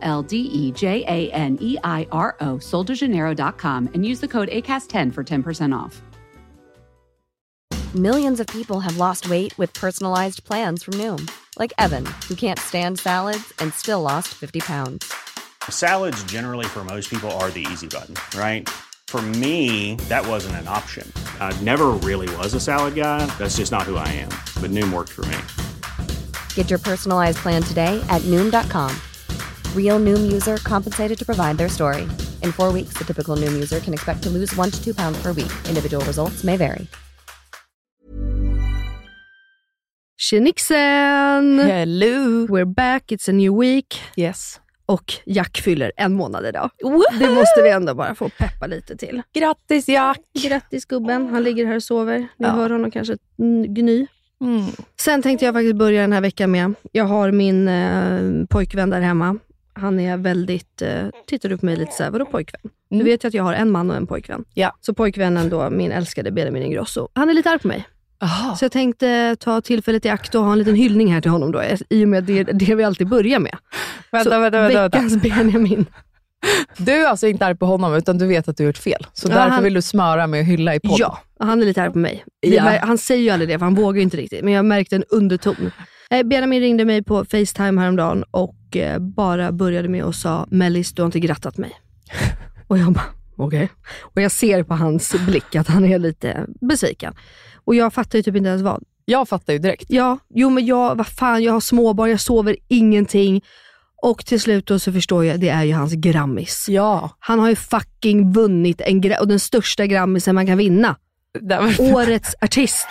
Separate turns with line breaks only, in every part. L D E J A N E I R O, soldejaneiro.com, and use the code ACAST10 for 10% off.
Millions of people have lost weight with personalized plans from Noom, like Evan, who can't stand salads and still lost 50 pounds.
Salads, generally, for most people, are the easy button, right? For me, that wasn't an option. I never really was a salad guy. That's just not who I am. But Noom worked for me.
Get your personalized plan today at Noom.com. Real Noom user compensated to provide their story. In four weeks, the typical Noom user can expect to lose one to two pounds per week. Individual results may vary.
Tjenixen!
Mm. Hello!
We're back, it's a new week.
Yes.
Och Jack fyller en månad idag. Det måste vi ändå bara få peppa lite till.
Grattis Jack!
Grattis gubben, han ligger här och sover. Ni
Ja.
hör honom kanske mm, gny.
Mm.
Sen tänkte jag faktiskt börja den här veckan med, jag har min eh, pojkvän där hemma. Han är väldigt, eh, tittar du på mig lite såhär, vadå pojkvän? Du
Mm.
vet ju att jag har en man och en pojkvän.
Ja.
Så pojkvännen då, min älskade Benjamin Ingrosso, han är lite arg på mig.
Aha.
Så jag tänkte ta tillfället i akt och ha en liten hyllning här till honom då, i och med det, det vi alltid börjar med.
Vänta,
så
vänta, vänta, vänta.
veckans Benjamin.
Du är alltså inte arg på honom, utan du vet att du har gjort fel. Så
Ja,
därför
han-
vill du smöra med att hylla i podden.
Ja, och han är lite arg på mig. Vi
Ja.
mär- Han säger ju aldrig det, för han vågar ju inte riktigt. Men jag märkte en underton. Eh, Benjamin ringde mig på Facetime häromdagen och eh, bara började med att sa, Mellis du har inte grattat mig. och jag bara, okej. Och jag ser på hans blick att han är lite besviken. Och jag fattar ju typ inte ens vad.
Jag fattar ju direkt.
Ja, jo men jag, vad fan, jag har småbarn, jag sover ingenting. Och till slut då så förstår jag, det är ju hans Grammis.
Ja.
Han har ju fucking vunnit en gra- och den största Grammisen man kan vinna.
Det var...
Årets artist.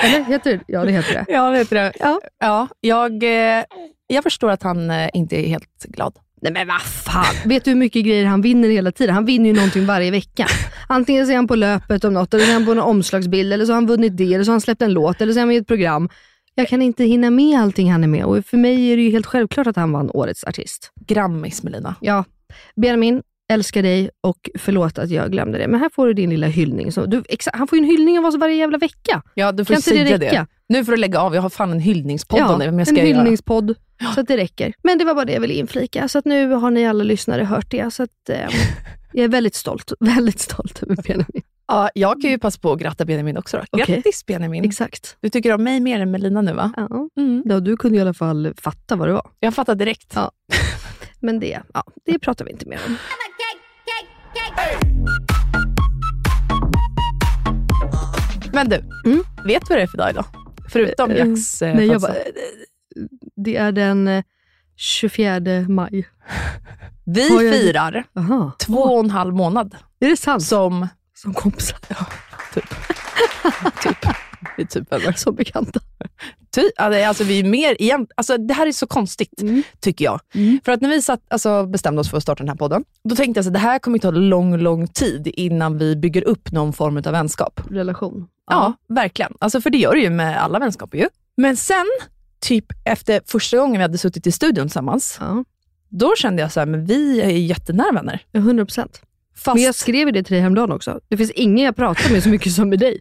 Eller heter det? Ja, det heter det.
Ja, det heter det.
Ja.
Ja, jag, eh, jag förstår att han eh, inte är helt glad.
Nej men vad Ah, fan. Vet du hur mycket grejer han vinner hela tiden? Han vinner ju någonting varje vecka. Antingen så är han på löpet om något, eller så är han på en omslagsbild, eller så har han vunnit det, eller så har han släppt en låt, eller så är han med i ett program. Jag kan inte hinna med allting han är med och för mig är det ju helt självklart att han vann Årets artist.
Grammis Melina.
Ja, Benjamin, älskar dig och förlåt att jag glömde det, men här får du din lilla hyllning. Så du, exa- han får ju en hyllning av oss varje jävla vecka.
Ja, du får
Kan inte det
säga det,
räcka?
Nu får du lägga av. Jag har fan en hyllningspodd om det. Men jag ska
en
göra.
hyllningspodd. Så att det räcker. Men det var bara det jag ville inflika. Så att nu har ni alla lyssnare hört det. Så att, eh, jag är väldigt stolt. Väldigt stolt över
Mm.
Benjamin.
Ja, jag kan ju passa på att gratta Benjamin också. Då.
Okej.
Grattis Benjamin.
Exakt.
Du tycker om mig mer än Melina nu va?
Ja.
Mm.
ja, du kunde i alla fall fatta vad det var.
Jag fattar direkt.
Ja. Men det, ja, det pratar vi inte mer om.
Men du,
Mm.
vet du vad det är för dag idag? Förutom
Eh,
Jacks eh,
Nej, jag bara,
födelsedag.
eh, det är den eh, 24 maj.
Vi
Har jag-
firar
Aha.
två och en halv månad
Är det sant?
som
Som kompisar.
typ. Vi är typ vänner.
Som bekanta.
Ty, alltså, vi är mer igen, alltså, det här är så konstigt,
Mm.
tycker jag.
Mm.
För att när vi satt, alltså, bestämde oss för att starta den här podden, då tänkte jag att det här kommer ta lång, lång tid innan vi bygger upp någon form av vänskap.
Relation.
Ja, verkligen. Alltså, för det gör det ju med alla vänskaper. ju. Men sen, typ efter första gången vi hade suttit i studion tillsammans,
Ja.
då kände jag så här, men vi är ju jättenära vänner.
Ja, 100 procent.
Fast,
Men jag skrev ju det till dig häromdagen också. Det finns ingen jag pratar med så mycket som med dig.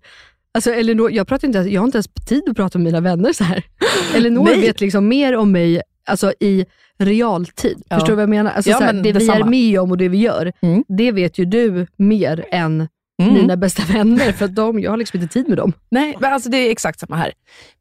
Alltså, Elinor, jag, pratar inte, ens- jag har inte ens tid att prata med mina vänner så här. Elinor
Nej.
vet liksom mer om mig alltså, i realtid.
Ja.
Förstår du vad jag menar? Alltså,
Ja,
så här,
men
det vi är
detsamma.
med om och det vi gör,
Mm.
det vet ju du mer än
Mm.
mina bästa vänner. För att de, jag har liksom inte tid med dem.
Nej, men alltså det är exakt samma här.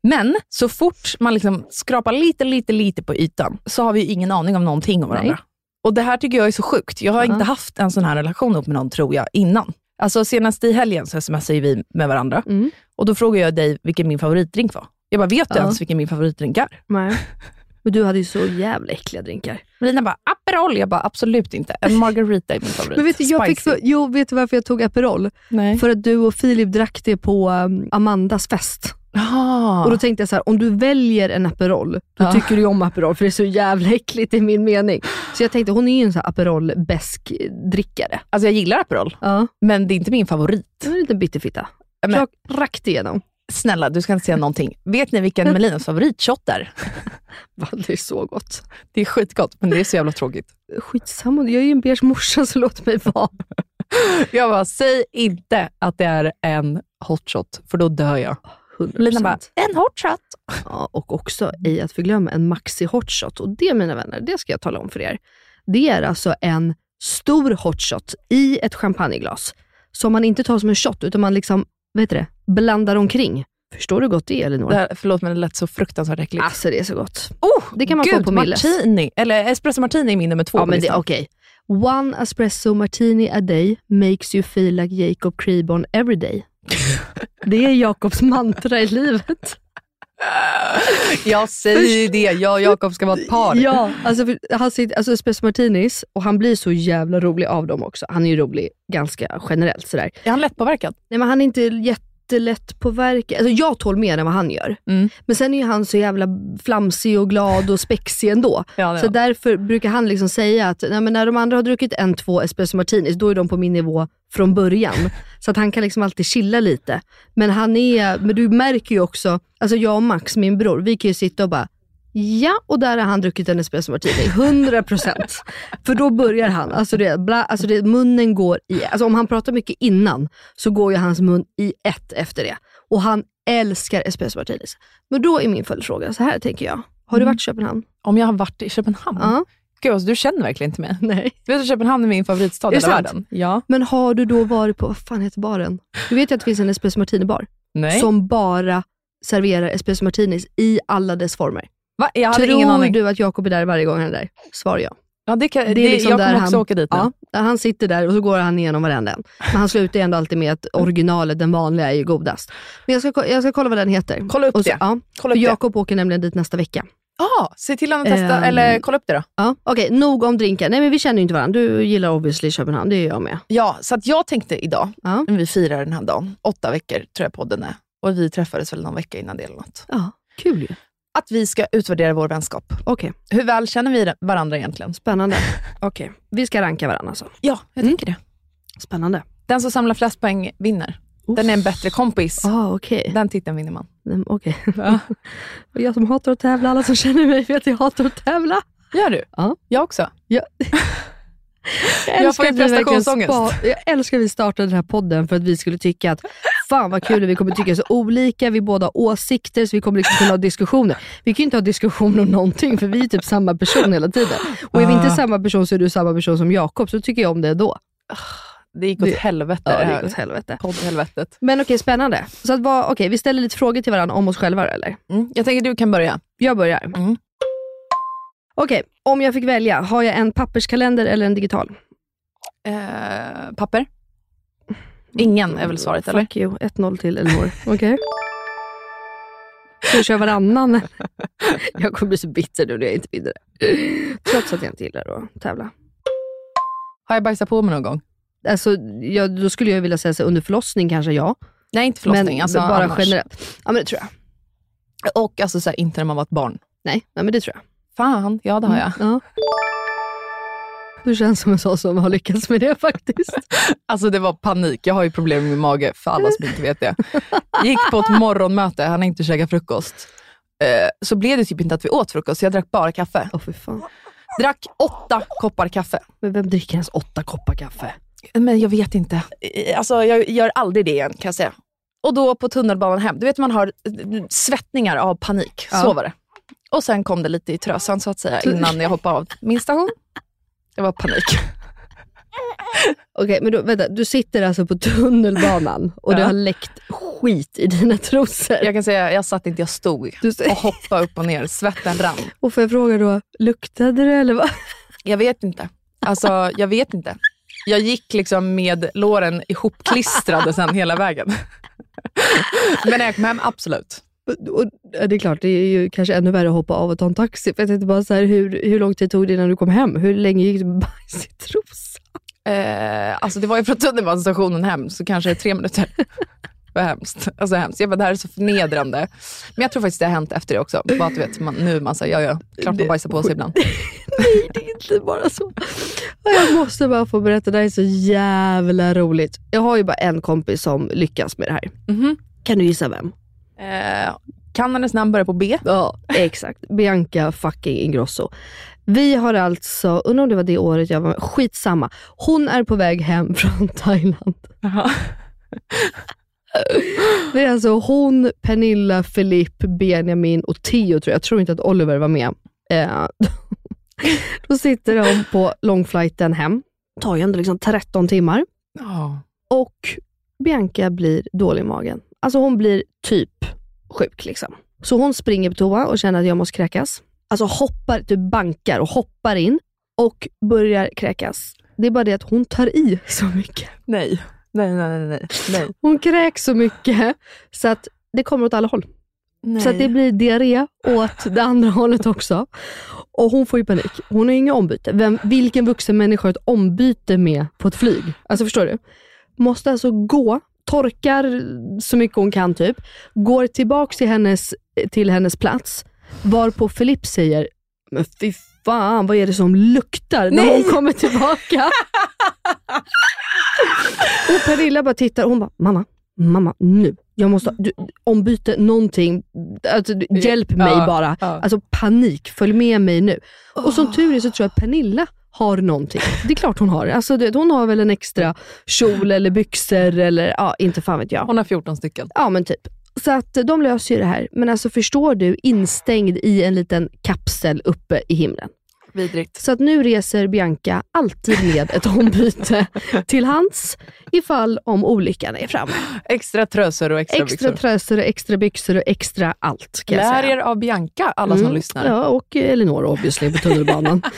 Men så fort man liksom skrapar lite, lite, lite på ytan så har vi ju ingen aning om någonting om varandra.
Nej.
Och Det här tycker jag är så sjukt. Jag har
Ja.
inte haft en sån här relation upp med någon, tror jag, innan. Alltså Senast i helgen så smsade ju vi med varandra
Mm.
och då frågade jag dig vilken min favoritdrink var. Jag bara, vet du
Ja.
ens vilken min favoritdrink är?
Nej. Men du hade ju så jävla äckliga drinkar.
Melina bara, Aperol. Jag bara, absolut inte. En Margarita är min favorit.
Men vet du, jag fick
Spicy.
för, jo, vet du varför jag tog Aperol?
Nej.
För att du och Filip drack det på um, Amandas fest.
Ah.
Och då tänkte jag så här, om du väljer en Aperol, då
Ja.
tycker du ju om Aperol för det är så jävla äckligt i min mening. Så jag tänkte, hon är ju en sån här aperol besk drickare
Alltså jag gillar Aperol,
Ja.
men det är inte min favorit.
Det var en liten bitterfitta.
Men-
Klart, rakt igenom.
Snälla, du ska inte säga någonting. Vet ni vilken Melinas favoritshot är?
Va, det är så gott.
Det är skitgott, men det är så jävla tråkigt.
Skitsamma, jag är ju en beige morsa så låt mig vara.
Jag bara, säg inte att det är en hotshot, för då dör jag.
100%.
Melina bara, en hotshot.
Ja, och också ej att förglömma en Maxi Hotshot. Och det mina vänner, det ska jag tala om för er. Det är alltså en stor hotshot i ett champagneglas som man inte tar som en shot utan man liksom, vad heter det, blandar omkring. Förstår du hur gott det är Elinor?
Det här, förlåt, men det lät så fruktansvärt äckligt.
Alltså det är så gott.
oh,
det kan man få på Milles.
martini, eller espresso martini är min nummer två
Ja
på
men det,
listan.
okej. One espresso martini a day makes you feel like Jacob Creborn every day. Det är Jakobs mantra i livet.
Jag säger ju det, jag och Jakob ska vara ett par.
Ja, alltså, för, han sitter, alltså espresso martinis och han blir så jävla rolig av dem också. Han är ju rolig ganska generellt sådär.
Är han lättpåverkad?
Nej men han är inte jättelätt påverkad. Alltså jag tål mer än vad han gör.
Mm.
Men sen är ju han så jävla flamsig och glad och spexig ändå.
Ja,
Så därför brukar han liksom säga att nej, men när de andra har druckit en, två espresso martinis, då är de på min nivå från början. Så att han kan liksom alltid chilla lite. Men han är, men du märker ju också, alltså jag och Max, min bror, vi kan ju sitta och bara, ja, och där har han druckit en espresso martini, 100%. För då börjar han, alltså, det, bla, alltså det, munnen går i, alltså om han pratar mycket innan, så går ju hans mun i ett efter det. Och han älskar espresso martinis. Men då är min följdfråga, så här tänker jag. Har
Mm.
du varit i Köpenhamn?
Om jag har varit i Köpenhamn?
Ja.
Gud, alltså, du känner verkligen inte mig.
Nej.
Vet du, Köpenhamn är min favoritstad
Är
i
det
hela
sant?
världen. Ja.
Men har du då varit på, vad fan heter baren? Du vet ju att det finns en espresso martini-bar
Nej.
som bara serverar espresso martinis i alla dess former.
Va? Jag hade
Tror
ingen aning.
du att Jakob är där varje gång han är där? Svar ja.
Ja, det kan, det
är liksom
jag
där
kommer också
han-
åka dit nu.
ja. Han sitter där och så går han igenom varenda en. Men han slutar ju ändå alltid med att originalet, den vanliga, är ju godast. Men jag ska, ko- jag ska kolla vad den heter.
Kolla upp
Och så,
det.
Ja,
Kolla
för
upp det.
Jakob åker nämligen dit nästa vecka.
Ja, se till att testa,
Ehm.
eller kolla upp det då.
Ja, Okej, nog om drinkar. Nej men vi känner ju inte varandra. Du gillar obviously Köpenhamn, det gör jag med.
Ja, så att jag tänkte idag,
Ja.
när vi firar den här dagen, åtta veckor tror jag podden är, och vi träffades väl någon vecka innan det eller något,
Ja, kul ju.
att vi ska utvärdera vår vänskap.
Okej,
Hur väl känner vi varandra egentligen?
spännande. Okej, vi ska ranka varandra alltså.
Ja, jag tänker det.
Spännande.
Mm. Den som samlar flest poäng vinner. Den är en bättre kompis.
Ah, okej.
Den titeln vinner man.
Mm, okej. Och jag som hatar att tävla, alla som känner mig vet att jag hatar att tävla.
Gör du?
Ja.
Jag också.
Jag,
Jag
älskar
får ju
att vi verkligen
prestationsångest.
spa- jag älskar att vi startade den här podden för att vi skulle tycka att fan vad kul vi kommer tycka så olika, vi båda har åsikter så vi kommer liksom kunna ha diskussioner. Vi kan ju inte ha diskussioner om någonting för vi är typ samma person hela tiden. Och är vi inte
Ah.
samma person så är du samma person som Jakob, så tycker jag om det då.
Det gick åt
Det-
helvete
Ja,
det
det
här.
gick åt helvete.
Poddhelvetet.
Men okej, spännande. Så att vad, okej, vi ställer lite frågor till varandra om oss själva eller?
Mm. Jag tänker du kan börja.
Jag börjar.
Mm.
Okej, om jag fick välja, har jag en papperskalender eller en digital?
Eh, papper? Mm. Ingen är väl svaret, eller?
Fuck you, 1-0 till Elinor. Okej? Ska jag köra varannan? jag kommer bli så bitter nu när jag inte vinner det. Trots att jag inte gillar att tävla.
Har jag bajsat på mig någon gång?
Alltså, jag, då skulle jag vilja säga så här, under förlossning kanske ja.
Nej, inte förlossning.
men
alltså,
bara
annars.
generellt. Ja men det tror jag.
Och alltså, så här, inte när man var ett barn.
Nej, nej men det tror jag.
Fan, ja det har jag.
Ja. Du känns som en sån som har lyckats med det faktiskt.
Alltså det var panik. Jag har ju problem med min mage, för alla som inte vet det. Gick på ett morgonmöte, han inte käkat frukost. Eh, Så blev det typ inte att vi åt frukost, så jag drack bara kaffe.
Åh fy fan.
Drack åtta koppar kaffe.
Men vem dricker ens åtta koppar kaffe?
Men jag vet inte. Eh, Alltså jag gör aldrig det igen kan jag säga. Och då på tunnelbanan hem, du vet man har eh, svettningar av panik.
Ja.
Så var det. Och sen kom det lite i trösan så att säga innan jag hoppade av min station. Det var panik.
Okej, men då, vänta. Du sitter alltså på tunnelbanan och det
Ja.
har läckt skit i dina trosor.
Jag kan säga, jag satt inte, jag stod
Du, s-
och hoppade upp och ner. Svetten rann.
och får jag fråga då, luktade det eller vad?
Jag vet inte. Alltså, jag vet inte. Jag gick liksom med låren ihopklistrade sen hela vägen. Men när jag kom hem, absolut.
Och, och, ja, det är klart, det är ju kanske ännu värre att hoppa av och ta en taxi. För jag tänkte bara så här, hur, hur lång tid tog det innan du kom hem? Hur länge gick du med bajs i trosan?
Eh, alltså det var ju från tunnelbanestationen hem, så kanske tre minuter. Vad hemskt. Alltså hemskt. Jag bara, det här är så förnedrande. Men jag tror faktiskt det har hänt efter det också. Bara att du vet, man, nu man säger ja ja, klart man bajsar på sig ibland.
Nej, det är inte bara så. Och Jag måste bara få berätta, det här är så jävla roligt. Jag har ju bara en kompis som lyckas med det här.
Mhm.
Kan du gissa vem?
Eh, kan hennes namn börja på B?
Ja, exakt. Bianca fucking Ingrosso. Vi har alltså, undrar om det var det året jag var med, skitsamma. Hon är på väg hem från Thailand. Det är alltså hon, Pernilla, Filip, Benjamin och Theo tror jag. Jag tror inte att Oliver var med. Eh, då sitter de på långflighten hem. Tar ju ändå liksom 13 timmar.
Ja.
Och Bianca blir dålig i magen. Alltså hon blir typ sjuk liksom. Så hon springer på toa och känner att jag måste kräkas. Alltså hoppar, typ bankar och hoppar in och börjar kräkas. Det är bara det att hon tar i så mycket.
Nej. Nej, nej, nej, nej. nej.
Hon kräks så mycket så att det kommer åt alla håll.
nej.
Så att det blir diarré åt det andra hållet också. Och hon får ju panik. Hon har ju inga ombyte. Vem, vilken vuxen människa har ett ombyte med på ett flyg? Alltså förstår du? Måste alltså gå, torkar så mycket hon kan typ, går tillbaks till hennes, till hennes plats, varpå Filip säger, men fy fan vad är det som luktar när hon kommer tillbaka? och Pernilla bara tittar och hon bara, mamma, mamma nu. Jag måste ha- du, ombyte någonting. Alltså, du- hjälp mig
Ja,
bara.
ja.
Alltså panik, följ med mig nu. Och
Ah.
som tur är så tror jag att Pernilla har någonting. Det är klart hon har. Alltså, du vet, hon har väl en extra kjol eller byxor eller ja, inte fan vet jag.
Hon har 14 stycken.
Ja men typ. Så att de löser ju det här. Men alltså förstår du, instängd i en liten kapsel uppe i himlen.
Vidrigt.
Så att nu reser Bianca alltid med ett ombyte till hands ifall om olyckan är framme.
Extra trösor och extra,
Extra
byxor.
trösor, och extra byxor och extra allt kan jag
Lär
säga.
er av Bianca, alla som
Mm,
lyssnar.
Ja, och Elinor obviously på tunnelbanan.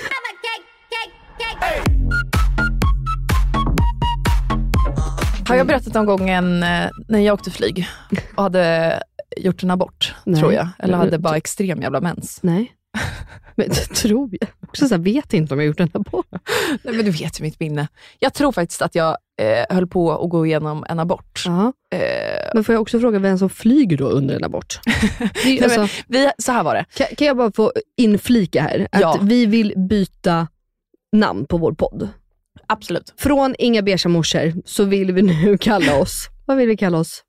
Har jag berättat om gången eh, när jag åkte flyg och hade gjort en abort,
Nej.
tror jag. Eller hade
Mm.
bara extrem jävla mens.
Nej. Men det tror jag. Också så här, vet inte om jag gjort den här på.
Nej, men du vet ju mitt minne. Jag tror faktiskt att jag eh, höll på att gå igenom en abort.
Ja.
Eh,
Men får jag också fråga vem som flyger då under en abort? Det är ju,
Nej, men-
alltså,
vi, så här var det.
Kan, kan jag bara få inflika här? Att
Ja.
vi vill byta namn på vår podd.
Absolut.
Från Inga beiga morsor så vill vi nu kalla oss, vad vill vi kalla oss?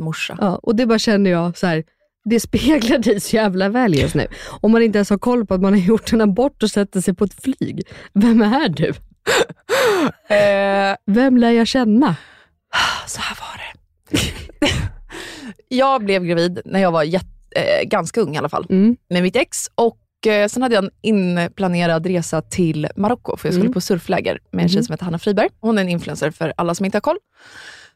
morsa.
Ja, och det bara känner jag så här. Det speglar dig så jävla väl just nu. Om man inte ens har koll på att man har gjort en abort och sätter sig på ett flyg. Vem är du?
Eh,
Vem lär jag känna?
så här var det. jag blev gravid när jag var jätte, eh, ganska ung i alla fall,
Mm.
med mitt ex. Och eh, Sen hade jag en inplanerad resa till Marocko, för jag skulle
Mm.
på surfläger med en tjej som heter Hanna Friberg. Hon är en influencer för alla som inte har koll.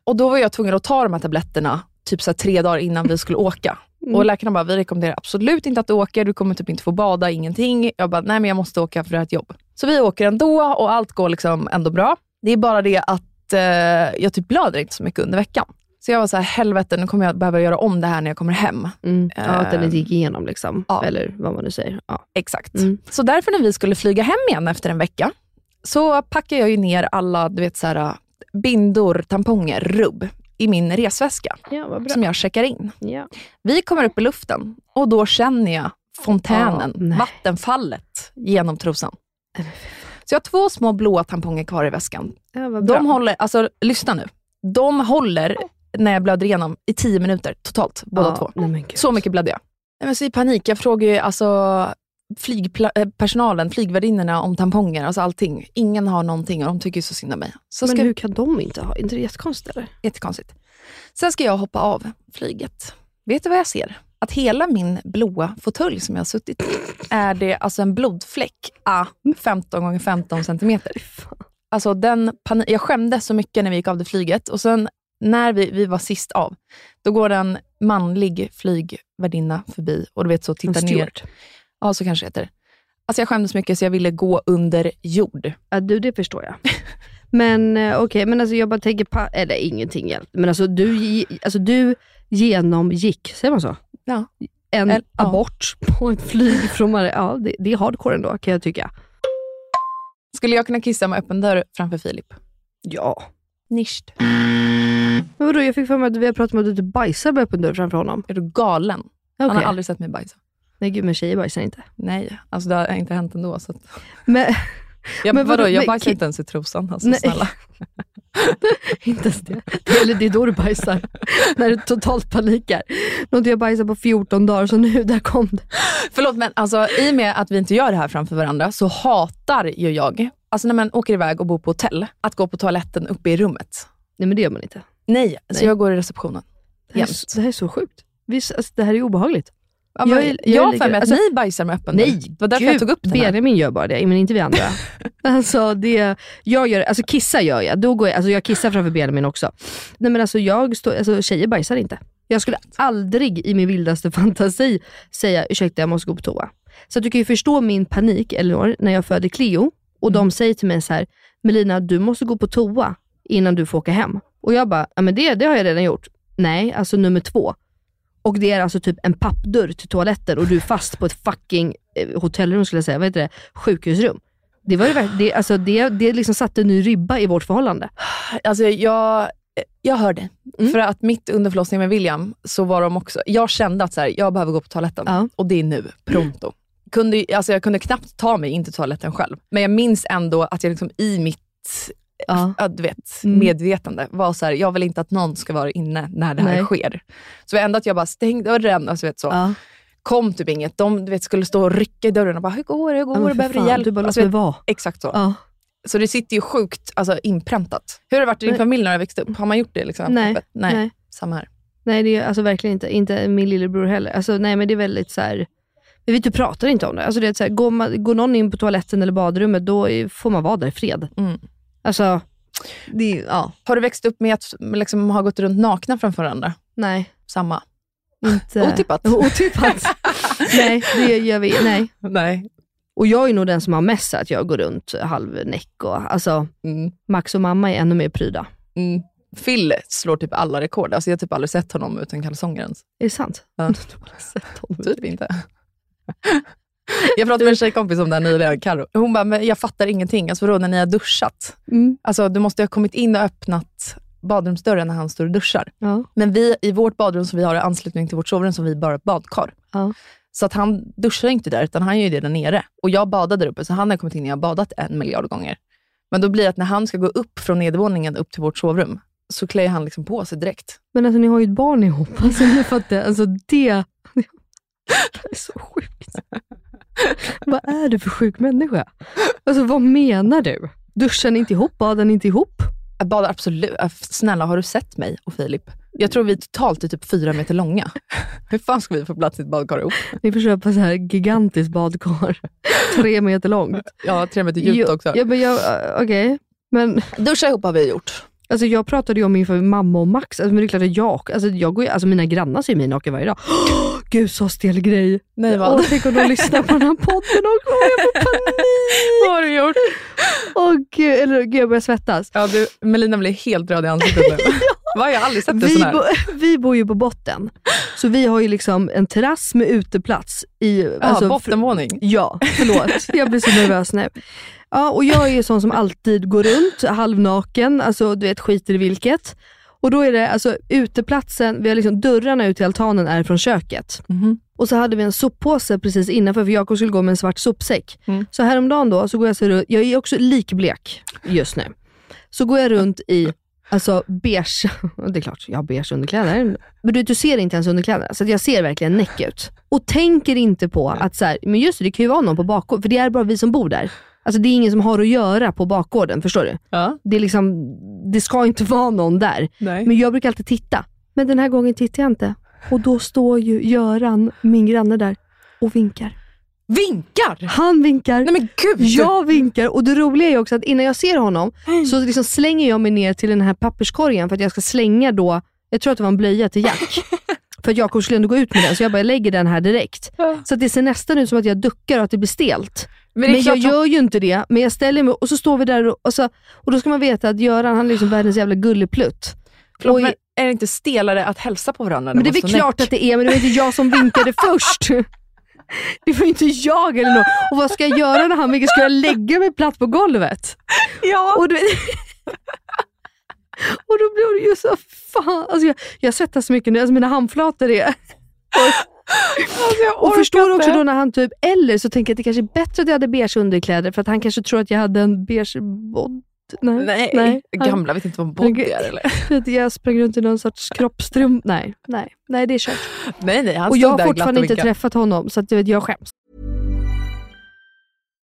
Och Då var jag tvungen att ta de här tabletterna typ så här tre dagar innan vi skulle åka.
Mm.
Och Läkarna bara, vi rekommenderar absolut inte att du åker. Du kommer typ inte få bada, ingenting. Jag bara, nej men jag måste åka för det här är ett jobb. Så vi åker ändå och allt går liksom ändå bra. Det är bara det att eh, jag typ blöder inte så mycket under veckan. Så jag var så här, helvete nu kommer jag behöva göra om det här när jag kommer hem.
Mm. Ja, att den inte gick igenom liksom.
Ehm, Ja.
Eller vad man nu säger. Ja.
Exakt.
Mm.
Så därför när vi skulle flyga hem igen efter en vecka, så packade jag ju ner alla du vet, så här, bindor, tamponger, rubb i min resväska
ja, vad
som jag checkar in.
Ja.
Vi kommer upp i luften och då känner jag fontänen,
Ja, nej.
vattenfallet, genom trosan. Så jag har två små blåa tamponger kvar i väskan.
Ja, vad bra.
De håller, alltså lyssna nu. De håller, när jag blöder igenom, i tio minuter totalt, båda
ja.
två.
Nej, men gud.
Så mycket blödde jag. Nej, men så I panik, jag frågade ju alltså flygpersonalen, flygvärdinnorna om tamponger, alltså allting. Ingen har någonting och de tycker ju så synd om mig. Så
Men
ska,
hur kan de inte ha? Inte det jättekonstigt eller?
Jättekonstigt. Sen ska jag hoppa av flyget. Vet du vad jag ser? Att hela min blåa fåtölj som jag har suttit i, är det alltså en blodfläck ah, 15 gånger 15 centimeter. Alltså den pani- jag skämdes så mycket när vi gick av det flyget och sen när vi, vi var sist av, då går en manlig flygvärdinna förbi och du vet så tittar ner. Ja, så kanske det heter. Alltså jag skämdes så mycket så jag ville gå under jord.
Ja, du, det förstår jag. Men eh, okej, men alltså jag bara tänker, pa- eller ingenting hjälpte, men alltså du, ge- alltså du genomgick, säger man så?
Ja.
En
Eller- ja.
abort på ett flyg från Mar- Ja, det, det är hardcore ändå kan jag tycka.
Skulle jag kunna kissa med öppen dörr framför Filip?
Ja.
Nischt.
Men vadå, jag fick för mig att vi har pratat om att du typ bajsar på öppen dörr framför honom.
Är du galen? Han har
Okej.
aldrig sett mig bajsa.
Nej gud, men tjejer bajsar inte.
Nej, alltså det har inte hänt ändå. Så att...
Men,
jag,
Men
men
vadå,
vadå, jag
men
bajsar
ki-
inte ens i trosan. Alltså,
Nej.
snälla.
inte ens det. Eller det är då du bajsar. när du totalt panikar. Någonting jag bajsar på 14 dagar, så nu, där kom det.
Förlåt, men alltså, i och med att vi inte gör det här framför varandra så hatar ju jag, alltså när man åker iväg och bor på hotell, att gå på toaletten uppe i rummet.
Nej men det gör man inte.
Nej, så
Nej.
jag går i receptionen.
Det här, är,
Jämt.
så- det här är så sjukt. Vi, alltså, det här är obehagligt.
Ja, men,
Jag
jag
är- jag är
har
lika-
för mig att
alltså-
ni bajsar med öppen dörr. Det var därför jag tog upp den här.
Benjamin gör bara det, men inte vi andra. alltså, det, jag gör, alltså kissa gör jag. Då går jag, alltså, jag kissar framför Benjamin också. Nej, men alltså, jag står, alltså, tjejer bajsar inte. Jag skulle aldrig i min vildaste fantasi säga ursäkta jag måste gå på toa. Så att du kan ju förstå min panik Elinor, när jag födde Cleo och
Mm.
de säger till mig så här, Melina du måste gå på toa innan du får åka hem. Och jag bara, ja men det, det har jag redan gjort. Nej, alltså nummer två. Och det är alltså typ en pappdörr till toaletten och du är fast på ett fucking eh, hotellrum skulle jag säga, vad heter det? Sjukhusrum. Det, var det, verk- det, alltså det, det liksom satte en ny ribba i vårt förhållande.
Alltså, jag, jag hör dig. För att mitt under förlossningen med William, så var de också, jag kände att så här, jag behöver gå på toaletten.
Ja.
Och det är nu, pronto. Kunde, ju- alltså, jag kunde knappt ta mig in till toaletten själv. Men jag minns ändå att jag liksom i mitt
Ja.
ja, du vet,
Mm.
medvetande var så här, jag vill inte att någon ska vara inne när det här
Nej.
sker. Så det enda att jag bara stängde dörren, alltså, du vet, så.
Ja.
kom typ inget. De du vet, skulle stå och rycka i dörren och bara, hur går det? Hur går det? Behöver du hjälp?
Du bara, låt
Alltså,
mig
vet,
vara.
exakt så.
Ja.
Så det sitter ju sjukt alltså, inpräntat. Hur har det varit i din
Nej.
familj när du växte upp? Har man gjort det? Liksom?
Nej.
Öppet?
Nej.
Nej.
Nej.
Samma här.
det är alltså verkligen inte, inte min lillebror heller. Alltså, nej men det är väldigt så här. men vi typ pratar inte om det. Alltså, det är så här, går, man, går någon in på toaletten eller badrummet, då är- får man vara där i fred.
Mm.
Alltså, det, är- ja.
Har du växt upp med att liksom, ha gått runt nakna framför varandra?
Nej,
Samma.
inte...
Otippat.
Otippat. nej, det gör vi Nej.
Nej.
Och jag är nog den som har mest så att jag går runt halvnäck. Och, alltså,
Mm.
Max och mamma är ännu mer pryda.
Mm. Phil slår typ alla rekord. Alltså, jag har typ aldrig sett honom utan kalsonger ens.
Är det sant?
Ja. Typ inte. Jag pratade med en tjejkompis om det här nyligen, Karo. Hon bara, men jag fattar ingenting. Alltså vadå, när ni har duschat?
Mm.
Alltså du måste ju ha kommit in och öppnat badrumsdörren när han står och duschar.
Ja.
Men vi, i vårt badrum som vi har i anslutning till vårt sovrum, så har vi bara ett badkar.
Ja.
Så att han duschar inte där, utan han gör ju det där nere. Och jag badade där uppe, så han har kommit in när jag har badat en miljard gånger. Men då blir det att när han ska gå upp från nedervåningen upp till vårt sovrum, så klär han liksom på sig direkt.
Men alltså ni har ju ett barn ihop. Alltså, ni fattar, alltså det... Det här är så sjukt. vad är du för sjuk människa? Alltså vad menar du? Duschar ni inte ihop? Badar ni inte ihop?
Jag badar absolut. äh, Snälla, har du sett mig och Filip? Jag tror vi totalt är typ fyra meter långa. Hur fan ska vi få plats i ett badkar ihop?
Ni får köpa så här gigantiskt badkar. Tre meter långt.
Ja, tre meter djupt
Jo,
också.
Ja, men jag, okej. Men
Duscha ihop har vi gjort.
Alltså jag pratade ju om inför mamma och Max, alltså, men det är klart att jag, alltså, jag går ju, alltså mina grannar ser ju mig naken varje dag. Gud så stel grej.
Nej, vad?
Åh, tänk om de lyssnar på den här podden också. Åh, jag får panik.
Vad har du gjort?
Åh gud, eller gud jag börjar svettas.
Ja, du, Melina blir helt röd i ansiktet nu. Va, jag har aldrig sett dig
Vi,
sån här.
bo, vi bor ju på botten, så vi har ju liksom en terrass med uteplats. I, alltså,
ja, Alltså, bottenvåning.
Ja, förlåt. Jag blir så nervös nu. Ja, och jag är ju sån som alltid går runt halvnaken, alltså du vet skiter i vilket. Och då är det alltså uteplatsen, vi har liksom dörrarna ut till altanen är från köket.
Mhm.
Och så hade vi en soppåse precis innanför för Jakob skulle gå med en svart sopsäck.
Mm.
Så häromdagen då, så går jag, så runt, jag är också likblek just nu. Så går jag runt i alltså beige, det är klart jag har beige underkläder. Men du, vet, du ser inte ens underkläderna, så att jag ser verkligen näck ut. Och tänker inte på att så här, men just det, det kan ju vara någon på bakgården, för det är bara vi som bor där. Alltså det är ingen som har att göra på bakgården, förstår du?
Ja,
Det, är liksom, det ska inte vara någon där.
nej.
Men jag brukar alltid titta. Men den här gången tittar jag inte. Och då står ju Göran, min granne där, och vinkar.
Vinkar!
Han vinkar,
Nej men gud!
jag vinkar och det roliga är också att innan jag ser honom så liksom slänger jag mig ner till den här papperskorgen för att jag ska slänga då, jag tror att det var en blöja till Jack. för att Jakob skulle ändå gå ut med den, så jag bara jag lägger den här direkt.
Ja.
Så att det ser nästan ut som att jag duckar och att det blir stelt.
men
Men,
det är
jag
klart,
gör ju inte det, men jag ställer mig och så står vi där och, och, så, och då ska man veta att Göran han är liksom världens jävla gulleplutt.
förlåt,
Oj.
men är det inte stelare att hälsa på varandra? när
Men det är
man
väl
står näck?
klart att det är, men det var inte jag som vinkade först. Det var inte jag eller någon. Och vad ska jag göra när han vinkar? Ska jag lägga mig platt på golvet?
Ja.
Och du... Och då blir det ju så fan. Alltså jag, jag svettas så mycket nu, alltså mina handflator är...
Alltså, jag
Och
orkar
förstår
inte.
också då när han typ, eller så tänker jag att det kanske är bättre att jag hade beige underkläder för att han kanske tror att jag hade en beige bod. Nej,
Nej,
Han-
gamla vet inte vad body är eller?
För att jag sprang runt i någon sorts kroppstrump. Nej, nej, nej det är kört.
Nej, nej, han
Och
stod
jag har
där
fortfarande
glatt och
inte
vinkade.
träffat honom, så att, du vet, jag skäms.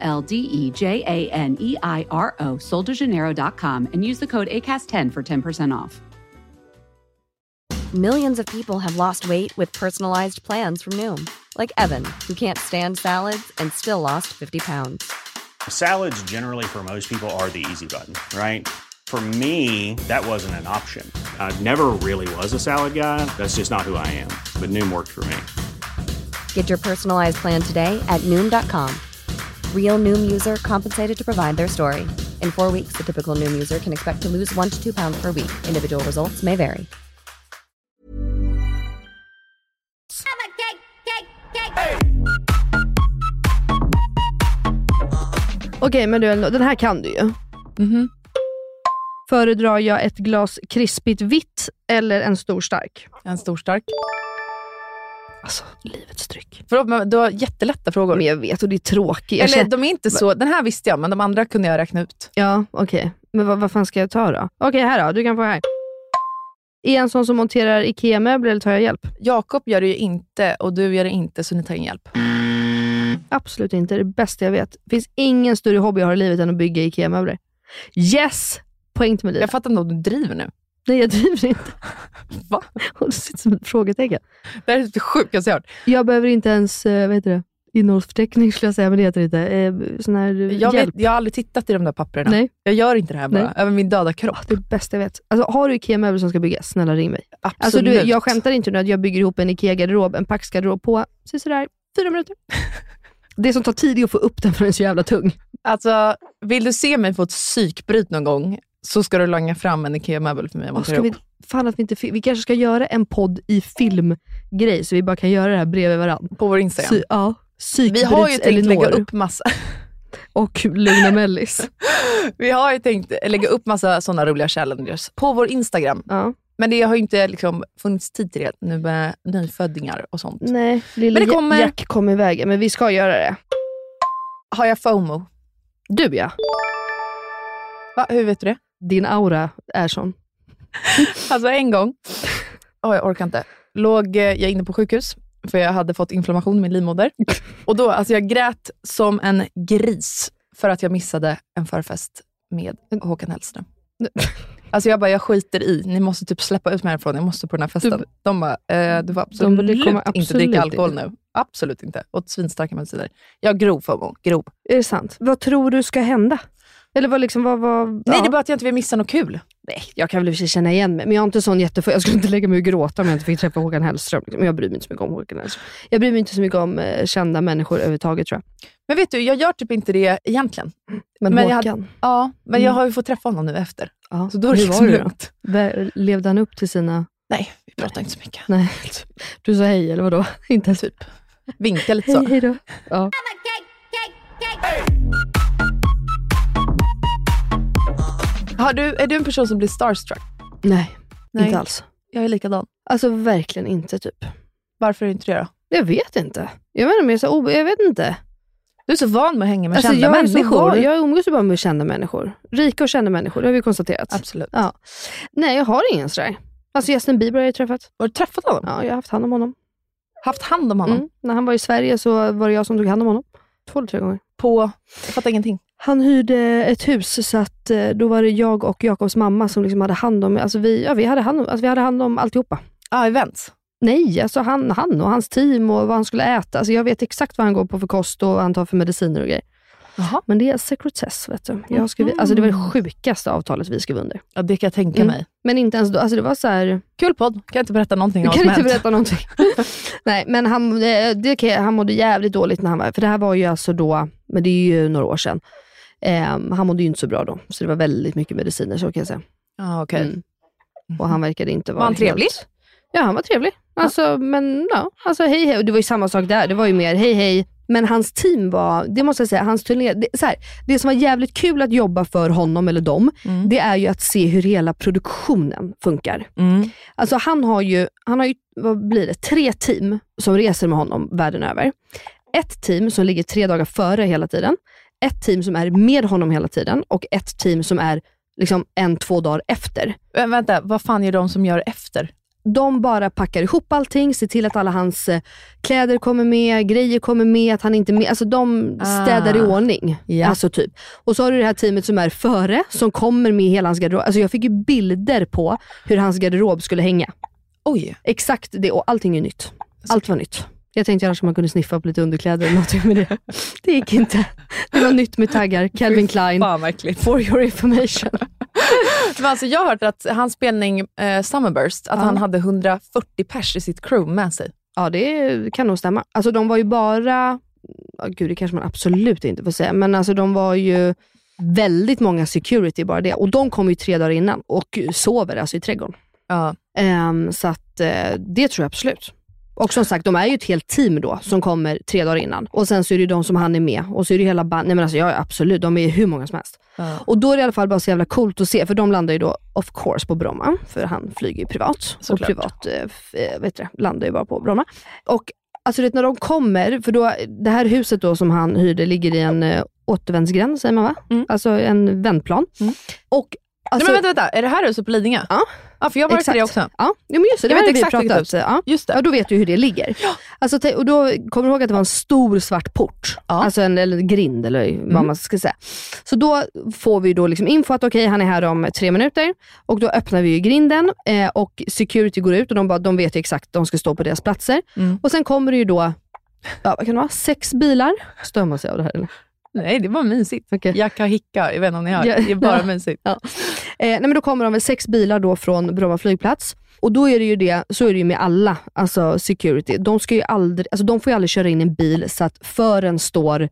L D E J A N E I R O, soldejaneiro.com, and use the code ACAST10 for 10% off.
Millions of people have lost weight with personalized plans from Noom, like Evan, who can't stand salads and still lost 50 pounds.
Salads, generally, for most people, are the easy button, right? For me, that wasn't an option. I never really was a salad guy. That's just not who I am. But Noom worked for me.
Get your personalized plan today at Noom.com. Real Noom user compensated to provide their story. In four weeks, the typical Noom user can expect to lose one to two pounds per week. Individual results may vary.
Okej, men du, Elinor, den här kan du ju.
Mhm.
Föredrar jag ett glas krispigt vitt eller en stor stark?
En stor stark.
Alltså, livets dryck.
Förlåt, men du har jättelätta frågor.
Men jag vet, och det är tråkigt. Jag
Eller
känner-
de är inte så, den här visste jag, men de andra kunde jag räkna ut.
Ja, okej. Men vad, vad fan ska jag ta då? Okej, här då. Du kan få här. Är jag en sån som monterar IKEA-möbler eller tar jag hjälp?
Jakob gör det ju inte och du gör det inte, så ni tar in hjälp.
Absolut inte. Det är det bästa jag vet. finns ingen större hobby jag har i livet än att bygga IKEA-möbler. Yes! Poäng till mig, Lina.
Jag fattar nog att du driver nu.
Nej, jag driver inte.
Va?
Och det sitter som ett frågetecken.
Det här är det sjukaste jag hört.
Jag behöver inte ens, eh, vad heter det, innehållsförteckning skulle jag säga, men det heter det inte. Eh, Sån här eh,
Jag,
hjälp.
vet, jag har aldrig tittat i de där papperna.
Nej.
Jag gör inte det här bara,
Nej.
över min döda kropp.
Det är det bästa jag vet. Alltså, har du IKEA-möbler som ska byggas, snälla ring mig.
Absolut.
Alltså, du, jag skämtar inte nu att jag bygger ihop en IKEA-garderob, en Pax-garderob på så sådär, fyra minuter. Det som tar tid är att få upp den för den är så jävla tung.
Alltså, vill du se mig få ett psykbryt någon gång, så ska du langa fram en IKEA-möbel för mig och
Och
montera
ska vi,
ihop.
fan att vi, inte, fi- vi kanske ska göra en podd i filmgrej, så vi bara kan göra det här bredvid varandra.
På vår Instagram.
Sy, ja,
vi har ju
Psykbryts
tänkt lägga
Elinor
upp massa,
och Lugna Mellis.
vi har ju tänkt lägga upp massa sådana roliga challenges på vår Instagram.
Ja.
Men det har ju inte liksom funnits tid till det nu med nyföddingar och sånt.
Nej, lille
Men det kommer-
Jack kom i vägen, men vi ska göra det.
Har jag FOMO?
Du ja,
Va? Hur vet du det?
din aura är sån.
Alltså en gång, oh, jag orkar inte, låg eh, jag inne på sjukhus för jag hade fått inflammation i min livmoder. Och då, alltså jag grät som en gris för att jag missade en förfest med Håkan Hellström. Alltså jag bara, jag skiter i. Ni måste typ släppa ut mig härifrån. Jag måste på den här festen.
Du-
de bara, eh, du får absolut,
borde komma
inte
absolut
dricka alkohol
inte.
nu. Absolut inte. Och svinstarka mediciner. Jag grov FOMO. Grov.
Är det sant? Vad tror du ska hända? Eller vad liksom, vad, vad,
Nej,
ja.
det är bara att jag inte vill missa något kul.
Nej, jag kan väl i och för sig känna igen mig, men jag är inte sån jättefull. Jag skulle inte lägga mig och gråta om jag inte fick träffa Håkan Hellström. Men jag bryr mig inte så mycket om Håkan Hellström. Jag bryr mig inte så mycket om eh, kända människor överhuvudtaget tror jag.
Men vet du, jag gör typ inte det egentligen.
Men,
Men jag
Håkan,
Ja, men
Mm.
jag har ju fått träffa honom nu efter.
ja,
Så då är det
hur
liksom
var det då?
lugnt.
Vä- Levde han upp till sina...
Nej, vi pratar inte så mycket.
Nej, du sa hej eller vadå? Inte ens
Typ. Vinka lite
hej,
så.
hej då. Ja.
Har du, är du en person som blir starstruck?
Nej,
Nej.
inte alls.
Jag är likadan.
Alltså verkligen inte typ.
Varför är du inte det då?
Jag vet inte. Jag vet inte, men jag, är så, o- jag vet inte.
Du är så van med att hänga med
Alltså,
kända
jag, är så
människor.
van- jag umgås ju bara med kända människor. Rika och kända människor, det har vi konstaterat.
Absolut.
Ja. Nej, jag har ingen sådär. Alltså Justin Bieber har jag träffat.
Har du träffat honom?
Ja, jag har haft hand om honom.
Haft hand om honom?
Mm. När han var i Sverige så var det jag som tog hand om honom. Två eller tre gånger.
På... Jag fattar ingenting.
Han hyrde ett hus, så att eh, då var det jag och Jakobs mamma som liksom hade hand om alltså vi, ja, vi hade hand om, alltså vi hade hand om alltihopa.
Ah, events.
Nej, alltså han, han och hans team och vad han skulle äta. Alltså jag vet exakt vad han går på för kost och vad han tar för mediciner och grejer.
Jaha.
Men det är sekretess vet du. Jag skrev, alltså, det var det sjukaste avtalet vi skrev under.
Ja, det kan jag tänka
Mm.
mig.
Men inte ens då, alltså det var så här,
Kul podd. Kan jag inte berätta någonting
du
om vad
kan
som
inte
hänt?
berätta någonting. Nej, men han, eh, det, kan jag- han mådde jävligt dåligt när han var, för det här var ju alltså då, men det är ju några år sedan. Ehm, han mådde ju inte så bra då, så det var väldigt mycket mediciner så kan jag säga.
Ja, Ah, okej.
Mm. Och han verkade inte vara
Mhm. Var han trevlig?
Helt... Ja, han var trevlig. Alltså, men ja, alltså hej hej. Och Det var ju samma sak där. Det var ju mer hej hej. Men hans team var, det måste jag säga, hans turné, det, så här, det som var jävligt kul att jobba för honom eller dem,
Mm.
det är ju att se hur hela produktionen funkar.
Mm.
Alltså han har ju, han har ju vad blir det, tre team som reser med honom världen över. Ett team som ligger tre dagar före hela tiden, ett team som är med honom hela tiden och ett team som är liksom en, två dagar efter.
Vä- Vänta, vad fan är de som gör efter?
De bara packar ihop allting, ser till att alla hans eh, kläder kommer med, grejer kommer med, att han inte är med. Alltså de städar
Ah.
i ordning.
Ja.
Alltså typ. Och så har du det här teamet som är före, som kommer med hela hans garderob. Alltså jag fick ju bilder på hur hans garderob skulle hänga.
Oj.
Exakt det och allting är nytt. Allt var nytt. Jag tänkte annars om man kunde sniffa på lite underkläder eller någonting med det. Det gick inte. Det var nytt med taggar. Calvin Klein,
Fan vad äckligt.
for your information.
Men alltså, jag har hört att hans spelning eh, Summerburst, att
Ja.
han hade 140 pers i sitt crew med sig.
Ja, det kan nog stämma. Alltså de var ju bara, ja, gud det kanske man absolut inte får säga, men alltså de var ju väldigt många security bara det. Och de kom ju tre dagar innan och sover alltså i trädgården.
Ja.
Ehm, så att eh, det tror jag absolut. Och som sagt, de är ju ett helt team då som kommer tre dagar innan. Och sen så är det ju de som han är med och så är det hela bandet. Nej men alltså jag är absolut, de är hur många som helst.
Ja.
Och då är det i alla fall bara så jävla coolt att se, för de landar ju då of course på Bromma, för han flyger ju privat.
Såklart.
Och privat eh, f- eh, vet du, det, landar ju bara på Bromma. Och alltså du vet, när de kommer, för då, det här huset då som han hyrde ligger i en eh, återvändsgränd, säger man va?
Mm.
Alltså en vändplan.
Mm.
Och alltså,
Nej, men vänta, vänta, är det här huset på Lidingö?
Ja.
ja för jag har varit i
Exakt.
det också.
Ja, ja, men just det, det
Jag
har
vet
vi
exakt vilket
pratat
hus.
om. Ja.
Just det.
Ja, då vet du hur det ligger. Alltså, te- och då kommer du ihåg att det var en stor svart port?
Ja. Mm.
Alltså en eller grind eller vad man ska säga. Så då får vi då liksom info att okej, han är här om tre minuter. Och då öppnar vi ju grinden eh, och security går ut och de, bara, de vet ju exakt, de ska stå på deras platser.
Mm.
Och sen kommer det ju då, ja, vad kan det vara, sex bilar. Stör man sig av det här eller?
Nej, det var mysigt.
Okej.
Jag kan hicka, jag vet inte om ni hör.
Ja.
Det är bara
Ja.
mysigt.
Eh, nej men då kommer de väl sex bilar då från Bromma flygplats. Och då är det ju det, så är det ju med alla, alltså security. De, ska ju aldrig, alltså de får ju aldrig köra in en bil så att fören står,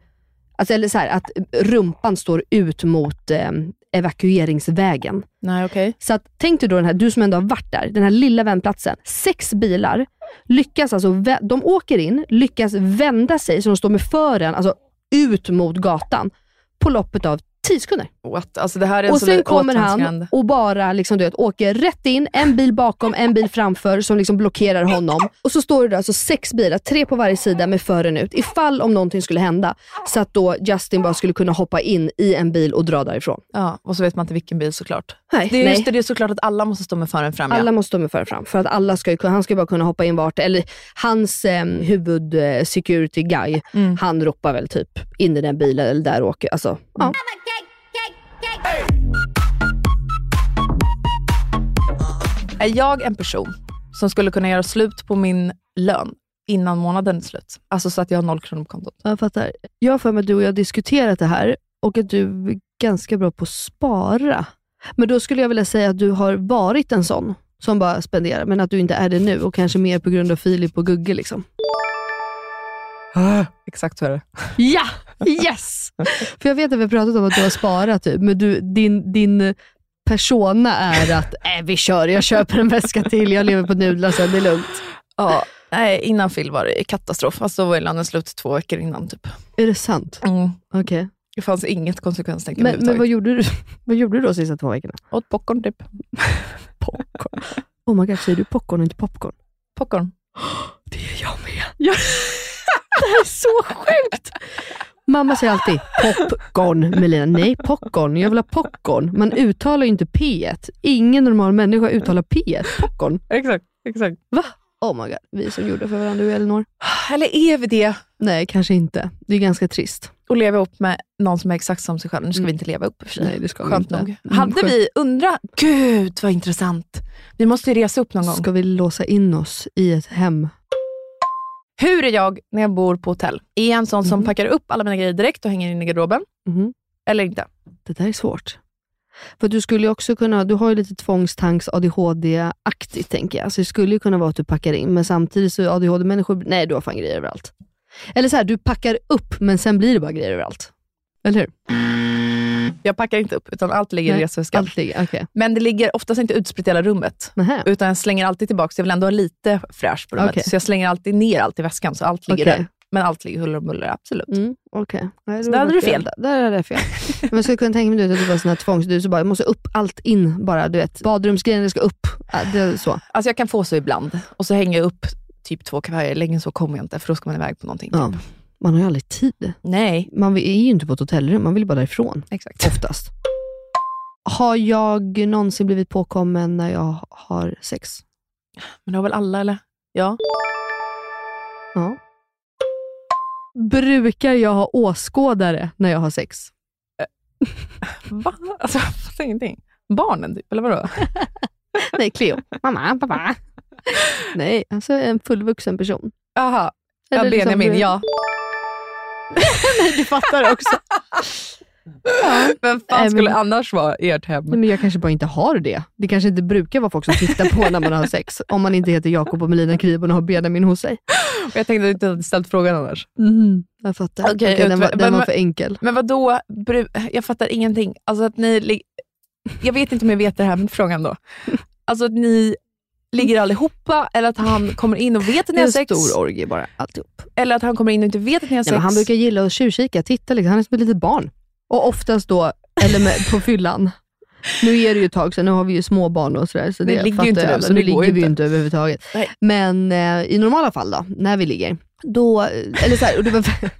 alltså eller så här, att rumpan står ut mot eh, evakueringsvägen.
Nej, okej.
Så att, tänk dig då den här, du som ändå har varit där, den här lilla vändplatsen. Sex bilar lyckas alltså, vä- de åker in, lyckas vända sig så de står med fören alltså, ut mot gatan på loppet av 10 sekunder.
What? Alltså, det här är en
Och
sån
sen
där
kommer han
återvändsgränd.
och bara liksom, du vet, åker rätt in, en bil bakom, en bil framför som liksom blockerar honom. Och så står det då alltså sex bilar, tre på varje sida med fören ut ifall om någonting skulle hända. Så att då Justin bara skulle kunna hoppa in i en bil och dra därifrån.
Ja, och så vet man inte vilken bil såklart.
Nej,
Det är just det, det är såklart att alla måste stå med föraren fram.
Alla
Ja.
måste stå med före fram för att alla ska ju, kunna- han ska ju bara kunna hoppa in vart, eller hans eh, huvud eh, security guy,
Mm.
han ropar väl typ in i den bilen eller där åker, alltså ja.
Är jag en person som skulle kunna göra slut på min lön innan månaden är slut? Alltså så att jag har noll kronor på kontot.
Jag fattar. Jag har för mig att du och jag har diskuterat det här och att du är ganska bra på att spara. Men då skulle jag vilja säga att du har varit en sån som bara spenderar, men att du inte är det nu och kanske mer på grund av Filip och Gugge. Liksom. Ah.
Exakt så är det.
Ja! Yes! för jag vet att vi har pratat om att du har sparat, typ, men du, din, din persona är att äh, vi kör, jag köper en väska till, jag lever på nudlar sen, det är lugnt.
Ja, nej, innan Phil var det katastrof. Alltså då var ju lönen slut två veckor innan typ.
Är det sant?
Mm.
Okej.
Det fanns inget konsekvenstänkande
Men, men
överhuvudtaget.
vad, gjorde du, vad gjorde du då sista två veckorna?
Åt popcorn typ.
Oh my god, säger du popcorn och inte popcorn?
Popcorn.
Det är jag med. Det här är så sjukt. Mamma säger alltid popcorn Melina. Nej, popcorn. Jag vill ha popcorn. Man uttalar ju inte P1. Ingen normal människa uttalar P1. Popcorn.
Exakt, exakt.
Oh my god, vi som gjorde för varandra, du och Elinor.
Eller är vi det?
Nej, kanske inte. Det är ganska trist.
och leva ihop med någon som är exakt som sig själv. Nu ska vi inte leva ihop i och för sig.
Mm. Nej, det ska vi
Skönt
inte.
nog.
Mm,
Hade
skönt.
vi, undra, gud vad intressant. Vi måste ju resa upp någon gång.
Ska vi låsa in oss i ett hem?
Hur är jag när jag bor på hotell? Är jag en sån som
Mhm.
packar upp alla mina grejer direkt och hänger in i garderoben?
Mhm.
Eller inte?
Det där är svårt. För du skulle ju också kunna, du har ju lite tvångstanks ADHD-aktigt tänker jag. Så det skulle ju kunna vara att du packar in, men samtidigt så är ADHD-människor, nej du har fan grejer överallt. Eller så här, du packar upp, men sen blir det bara grejer överallt. Eller hur?
Jag packar inte upp, utan allt ligger
Nej,
i resväskan.
Allt ligger, okej.
Men det ligger oftast inte utspritt i hela rummet.
Nähä.
Utan jag slänger alltid tillbaka, jag vill ändå ha lite fräscht på rummet.
Okej.
Så jag slänger alltid ner allt i väskan, så allt ligger
Okej.
där. Men allt ligger huller och buller, absolut.
Mm, Okej. Okay.
Så där hade du fel.
Där, där hade jag fel. Men jag skulle kunna tänka mig du, att du var sån här tvångs... Du så bara, jag måste upp allt in bara. Du vet, badrumsgrejerna ska upp. Äh, Det är så.
Alltså jag kan få så ibland. Och så hänger jag upp typ två kavajer, längre än så kommer jag inte, för då ska man iväg på någonting.
Ja.
Typ.
Man har ju aldrig tid.
Nej,
Man är ju inte på ett hotellrum, man vill ju bara därifrån.
exakt.
Oftast. Har jag någonsin blivit påkommen när jag har sex?
Men det har väl alla, eller? Ja.
Ja. Brukar jag ha åskådare när jag har sex?
Va? Alltså, jag fattar ingenting. Barnen, typ, eller vadå?
Nej, Cleo. Mamma, pappa. Nej, alltså en fullvuxen person.
Jaha, ja,
Eller liksom
Benjamin,
du-
ja.
Du fattar också.
Vem
Nej,
fan
men-
skulle annars vara i ert hem?
Nej, men jag kanske bara inte har det. Det kanske inte brukar vara folk som tittar på när man har sex. Om man inte heter Jakob och Melina Kryborn och har Benjamin hos sig.
Jag tänkte att du inte hade ställt frågan annars.
Jag fattar.
Okej,
Okej, den, var,
utve-
den var
men-
för enkel.
Men vad då? Jag fattar ingenting. Alltså att ni... lig- Jag vet inte om jag vet det här med frågan då. Alltså att ni ligger allihopa, eller att han kommer in och vet att ni har sex,
orgie bara, alltihop.
eller att han kommer in och inte vet att ni har
Nej,
sex.
men han brukar gilla att tjuvkika, titta liksom. Han är som ett litet barn. Och oftast då, eller med, på fyllan. Nu är det ju ett tag sedan, nu har vi ju små barn och sådär. Så
Ni
det
ligger ju
fattar
inte nu,
alla.
så
nu
det går
ligger
ju
vi ju
inte.
inte överhuvudtaget.
Nej.
Men eh, i normala fall då, när vi ligger, då, eh, eller så här, och det, var,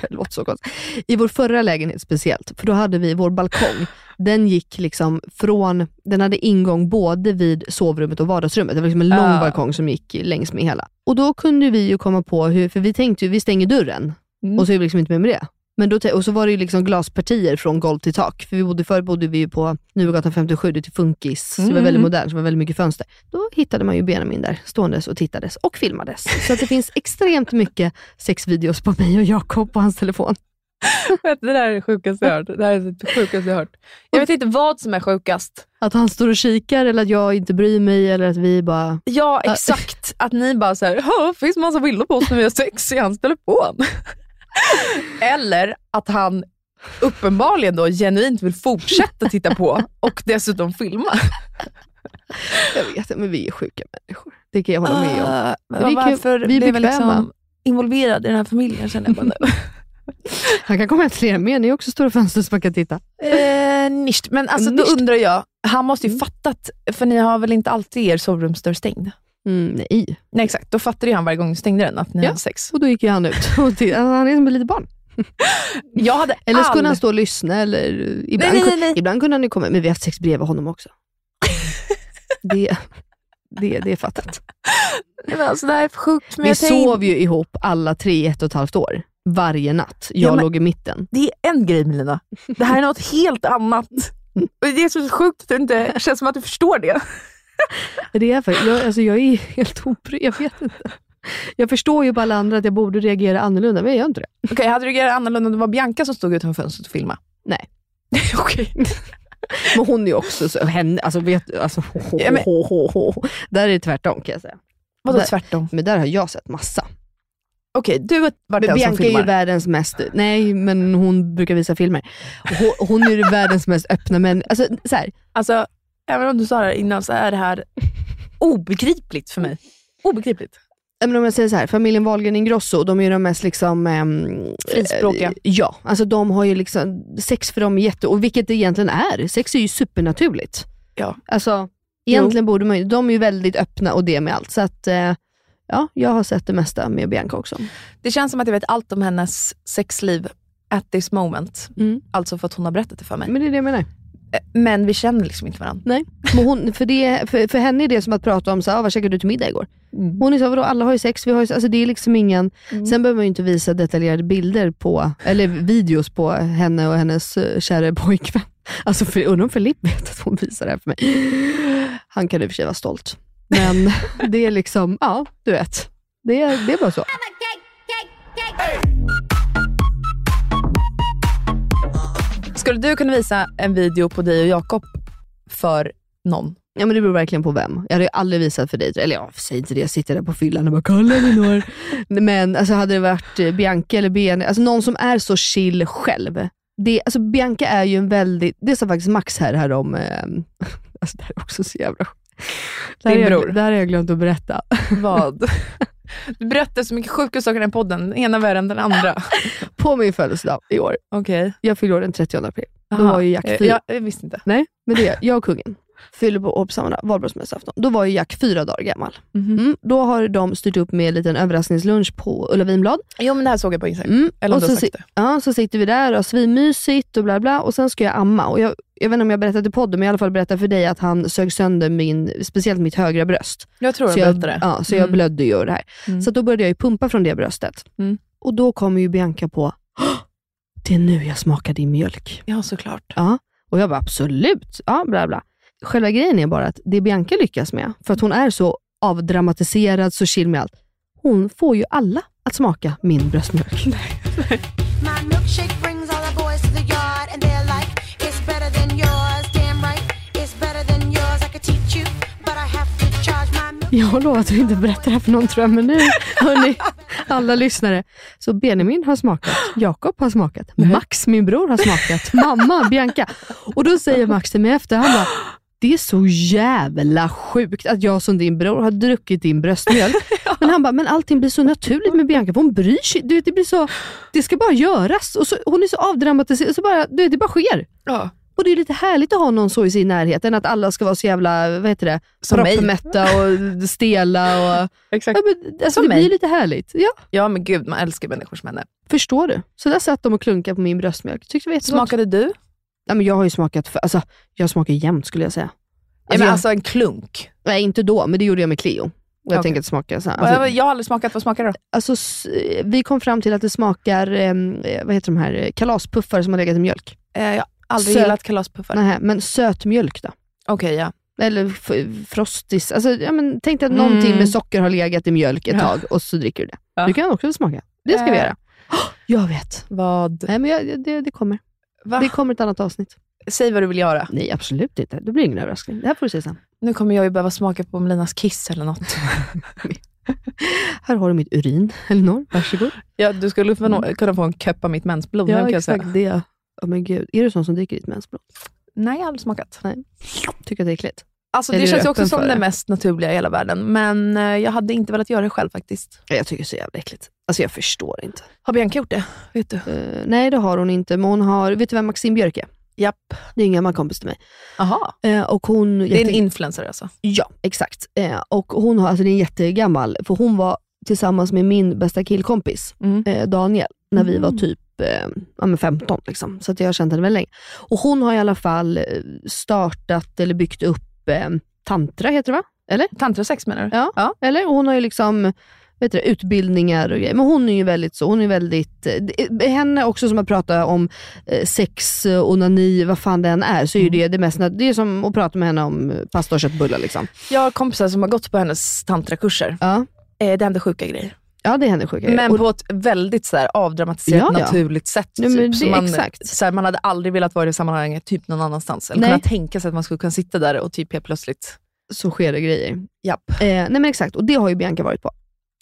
det låter så konstigt. I vår förra lägenhet speciellt, för då hade vi vår balkong. Den gick liksom från, den hade ingång både vid sovrummet och vardagsrummet. Det var liksom en lång
Ah.
balkong som gick längs med hela. Och då kunde vi ju komma på hur, för vi tänkte ju, vi stänger dörren
Mm.
och så är vi liksom inte med med det. Men då, te- och så var det ju liksom glaspartier från golv till tak. För vi bodde, förr bodde vi ju på Nygatan 57, det till Funkis. Så det var
Mm.
väldigt modernt, så det var väldigt mycket fönster. Då hittade man ju Benjamin där, ståendes och tittades och filmades. Så att det finns extremt mycket sexvideos på mig och Jakob på hans telefon.
Vet, du, det där är det sjukaste jag hört. Det här är det sjukaste jag hört. Jag vet inte vad som är sjukast.
Att han står och kikar eller att jag inte bryr mig eller att vi bara...
Ja, exakt. Att ni bara så här, "Ja, finns massa bilder på oss när vi har sex i hans telefon. Eller att han uppenbarligen då genuint vill fortsätta titta på och dessutom filma.
Jag vet, men vi är sjuka människor. Det kan jag hålla med om.
Ah,
Det är
men
kul.
varför
Vi är
blev jag
bekväma.
liksom involverad i den här familjen känner jag bara nu.
Han kan komma hem till er med, ni är också stora fönster som man kan titta.
Eh, nischt. Mm. Men alltså, då
Nischt.
undrar jag, han måste ju fattat, för ni har väl inte alltid er sovrumsdörr stängd?
Mm, nej.
Nej exakt, då fattade ju han varje gång du stängde den att ni
Ja.
hade sex.
Och då gick ju han ut. Och tittade. han är som ett litet barn.
Jag hade
Eller så
all...
kunde han stå och lyssna. Eller, ibland,
nej,
kun-
nej, nej.
ibland kunde han ju komma, men vi har haft sex bredvid honom också. det, det, det är fattat.
Nej, men Alltså, det här är för sjukt. Men
vi
jag tänkte-
sov ju ihop alla tre i ett och ett halvt år. Varje natt. Jag
Ja, men-
låg i mitten.
Det är en grej Melina. Det här är något helt annat. Och Det är så sjukt att du inte känns som att du förstår det.
Det är för, jag, alltså, jag är helt obry, jag vet inte. Jag förstår ju på alla andra att jag borde reagera annorlunda, men jag gör inte det.
Okej, hade du reagerat annorlunda om det var Bianca som stod utanför fönstret och filmade?
Nej.
Okej.
Men hon är ju också så, henne, alltså vet alltså, ho, ho,
Ja, men-
ho, ho, ho. Där är det tvärtom kan jag säga.
Vadå
Där-
tvärtom?
Men där har jag sett massa.
Okej, du har varit
Men
den som
Bianca är ju
filmar.
världens mest, nej men hon brukar visa filmer. Hon, hon är ju världens mest öppna men alltså så här,
Alltså, även om du sa det här innan så är det här obegripligt för mig. Obegripligt.
ja, men om jag säger så här, familjen Wahlgren Ingrosso, de är ju de mest liksom... ehm,
Frispråkiga.
eh, ja, alltså de har ju liksom, sex för dem är jätte, och vilket det egentligen är. Sex är ju supernaturligt.
Ja.
Alltså egentligen borde man ju, de är ju väldigt öppna och det med allt. Så att eh, ja, jag har sett det mesta med Bianca också.
Det känns som att jag vet allt om hennes sexliv at this moment.
Mm.
Alltså för att hon har berättat det för mig.
Men det är det jag menar.
Eh, Men vi känner liksom inte varandra.
Men hon, för, det, för, för henne är det som att prata om, så här, "Ah, vad käkade du till middag igår? Hon är så, här, vadå alla har ju sex, vi har ju, alltså det är liksom ingen, sen behöver man ju inte visa detaljerade bilder på, eller videos på henne och hennes uh, kära pojkvän. Alltså för, undrar om Filip vet att hon visar det här för mig. Han kan i och för sig vara stolt. Men det är liksom, ja du vet. Det är, det är bara så.
I'm a gay
Skulle du kunna visa en video på dig och Jakob för någon?
Ja men det beror verkligen på vem. Jag hade ju aldrig visat för dig, eller ja, säg inte det, jag sitter där på fyllan och bara “kolla Elinor”. Nej, men alltså hade det varit eh, Bianca eller Ben, alltså någon som är så chill själv. Det, alltså Bianca är ju en väldigt, det sa faktiskt Max här, här om, eh, alltså det här är också så jävla det här
Din
har jag-
bror.
Det här har jag glömt att berätta.
Vad? Du berättar så mycket sjuka saker i den podden, den ena värre än den andra.
På min födelsedag i år,
Okej.
jag fyller år den 30 april, då
Aha.
var ju Jack
Eh,
fyra.
Jag, jag visste inte.
Nej, men det är jag. jag och kungen fyller på år på samma dag, valborgsmässoafton. Då var ju Jack fyra dagar gammal.
Mhm.
Mm, då har de styrt upp med en liten överraskningslunch på Ulla Vinblad.
Jo men det här såg jag på Instagram.
Mm.
Eller om
och
du
så,
har
si-
sagt det.
ja, så sitter vi där och har svinmysigt och bla bla och sen ska jag amma. Och jag, jag vet inte om jag berättade i podden, men jag i alla fall berättade för dig att han sög sönder min, speciellt mitt högra bröst.
Jag tror
Så
jag
jag,
berättade det.
ja, så jag
Mm.
blödde ju och det här.
Mm.
Så att då började jag ju pumpa från det bröstet.
Mm.
Och då kommer ju Bianca på, "Åh, det är nu jag smakar din mjölk.
Ja såklart.
Och jag bara absolut, ja bla bla. Själva grejen är bara att det Bianca lyckas med, för att hon är så avdramatiserad, så chill med allt. Hon får ju alla att smaka min bröstmjölk.
My milkshake brings all the boys to the yard, and they're like, it's better than yours. Damn right, it's better than yours. I could teach you, but I have to charge my milk.
Jag har lovat att inte berätta det här för någon tror jag, men nu, hörni, alla lyssnare. Så Benjamin har smakat, Jakob har smakat, Max, min bror, har smakat, mamma, Bianca. Och då säger Max till mig efter, han bara, det är så jävla sjukt att jag som din bror har druckit din bröstmjölk. Men han bara, men allting blir så naturligt med Bianca, för hon bryr sig. Du vet, det, blir så, det ska bara göras. Och så, hon är så avdramatiserad, så bara, du vet, det bara sker.
Ja.
Och det är lite härligt att ha någon så i sin närhet, än att alla ska vara så jävla, vad heter det,
Som mig.
proppmätta och stela. Och,
Exakt.
ja, men, alltså,
Som
det
mig.
blir lite härligt. Ja,
Ja men gud, man älskar människor som henne.
förstår du? Så där satt de och klunkade på min bröstmjölk. Tyckte det var jättegott.
Smakade du?
Ja, men jag har ju smakat, för, alltså, jag smakar jämt skulle jag säga.
Ja,
Alltså,
men
jag,
alltså en klunk.
nej, inte då, men det gjorde jag med Cleo. Och jag
Okej.
tänker att det smakar så här.
jag,
Alltså,
jag har aldrig smakat, vad smakar det då?
alltså, s- eh, vi kom fram till att det smakar, ehm, eh, vad heter de här, eh, kalaspuffar som har legat i mjölk.
Eh, jag har aldrig
Sö-
gillat kalaspuffar.
Nej, men sötmjölk då.
Okej, ja.
Eller f- frostis. Alltså, ja, men, tänk dig att någonting
Mm.
med socker har legat i mjölk ett
Ja.
tag och så dricker du det.
Ja.
Du kan också smaka. Det ska vi
Äh.
göra. Jag vet.
Vad?
Nej, men jag, jag- det, det kommer.
Va?
Det kommer ett annat avsnitt.
Säg vad du vill göra.
Ah. Nej, absolut inte. Det blir ingen överraskning. Det här får du se sen.
Nu kommer jag ju behöva smaka på Melinas kiss eller något.
Här har du mitt urin, Elinor. Varsågod.
ja, du skulle få nå- kunna få en köp av mitt mensblod. nu kan jag säga.
det. Ja, men gud. Är du sån som dricker ditt mensblod?
Nej, jag har aldrig smakat.
Tycker att det är äckligt?
Alltså,
Är
det
du
känns ju också
öppen
som
för
det
det?
mest naturliga i hela världen, men eh, jag hade inte velat göra det själv faktiskt.
Ja, Jag tycker det är så jävla äckligt. Alltså jag förstår inte.
Har Bianca gjort det? Vet du?
Eh, nej, det har hon inte. Men hon har, vet du vem Maxine Björk är?
Japp.
Det är en gammal kompis till mig.
Aha.
Eh, och hon,
Det är en
jätte-
influencer alltså?
Ja, exakt. Eh, och hon har, alltså det är jättegammal, för hon var tillsammans med min bästa killkompis,
Mm.
eh, Daniel, när vi var
Mm.
typ eh, ja, men 15. Liksom. Så att jag har känt henne väldigt länge. Och hon har i alla fall eh, startat eller byggt upp eh, Tantra, heter det va?
Tantrasex menar du?
Ja. Eller? Och hon har ju liksom vet du, det, utbildningar och grejer. Men hon är ju väldigt så. Hon är väldigt, eh, det- henne också som har pratat om eh, sex, eh, onani, vad fan det än är, så är ju det det mest, det är som att prata med henne om eh, pasta och köttbullar. Liksom.
Jag har kompisar som har gått på hennes tantrakurser.
Ja.
Eh, det händer sjuka grejer.
Ja, det händer sjuka grejer.
Men
Och-
på ett väldigt så här, avdramatiserat,
Ja, ja.
naturligt sätt.
Nej, men
Så
det-
man,
exakt.
Så här, man hade aldrig velat vara i det sammanhanget typ någon annanstans. Eller
Nej.
kunna tänka sig att man skulle kunna sitta där och typ helt plötsligt,
så sker det grejer.
japp.
Eh, nej men exakt, och det har ju Bianca varit på.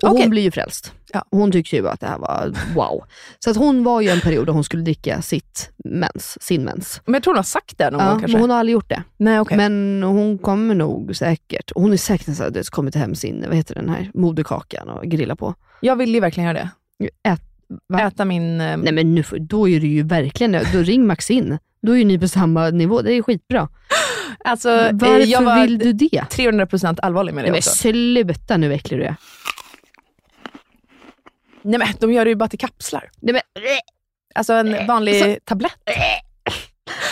Och
Okej.
Hon blir ju frälst.
Ja.
Hon tyckte ju bara att det här var wow. Så att hon var ju en period då hon skulle dricka sitt mens, sin mens.
Men jag tror hon har sagt det någon
Ja,
gång
men
kanske.
hon har aldrig gjort det.
Nej, okej.
Men hon kommer nog säkert, och hon är säkert så här, du vet, kommit hem sin, vad heter den här, moderkakan och grilla på.
Jag vill ju verkligen göra det.
Ät. Va?
Äta min... eh,
Nej men nu, får- då är det ju verkligen, då ring Max in. Då är ju ni på samma nivå, det är skitbra.
Alltså, eh,
Varför
jag var
vill du det?
300% allvarlig med
Nej,
det
men
också.
sluta nu vad äcklig du är.
Nej, men de gör det ju bara till kapslar.
Nej, men,
Alltså en vanlig tablett.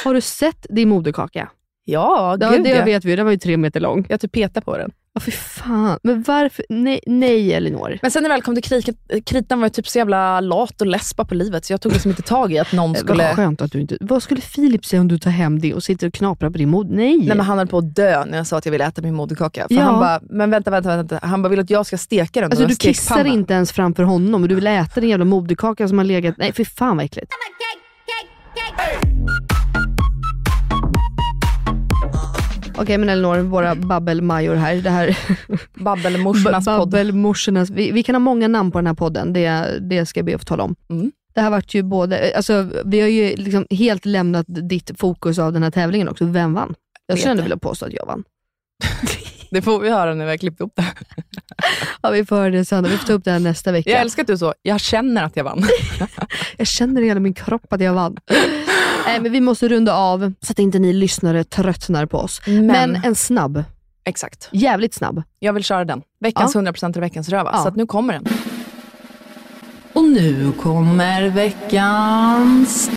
har du sett din moderkaka?
Ja,
Ja,
gud
det
ja.
vet vi. Den var ju tre meter lång.
Jag typ petar på den.
Ja, fy fan. Men varför? Nej, nej Elinor.
Men sen när väl kom till kriket, kritan var jag typ så jävla lat och less bara på livet så jag tog liksom inte tag i att någon skulle...
Eh, Vad skönt att du inte... Vad skulle Filip säga om du tar hem det och sitter och knaprar på din mod? Nej.
Nej, men han höll på att dö när jag sa att jag ville äta min moderkaka. För
Ja.
Han bara, men vänta, vänta, vänta. Han bara, vill du att jag ska steka den? på
alltså
den
du
här
kissar
stekpannan?"
inte ens framför honom och du vill äta den jävla moderkakan som har legat... Nej, fy fan vad äckligt.
I'm a cake, cake, cake.
Okej men Elinor, våra babbelmajor här. Det här
Babbelmorsornas
B-
podd.
Babbelmorsornas. Vi, vi kan ha många namn på den här podden, det, det ska jag be att få tala om.
Mm.
Det här vart ju både, alltså, vi har ju liksom helt lämnat ditt fokus av den här tävlingen också. Vem vann? Jag
Vet
skulle ändå
det.
vilja påstå att jag vann.
Det får vi höra när vi har klippt upp det.
Ja, vi får höra det sen. Vi får ta upp det här nästa vecka.
Jag älskar att du så, jag känner att jag vann.
Jag känner i hela min kropp att jag vann. Nej, men vi måste runda av så att inte ni lyssnare tröttnar på oss.
Men,
Men, en snabb,
exakt,
jävligt snabb.
jag vill köra den. Veckans 100% eller veckans röva.
Ja.
Så att nu kommer den. Och nu kommer veckans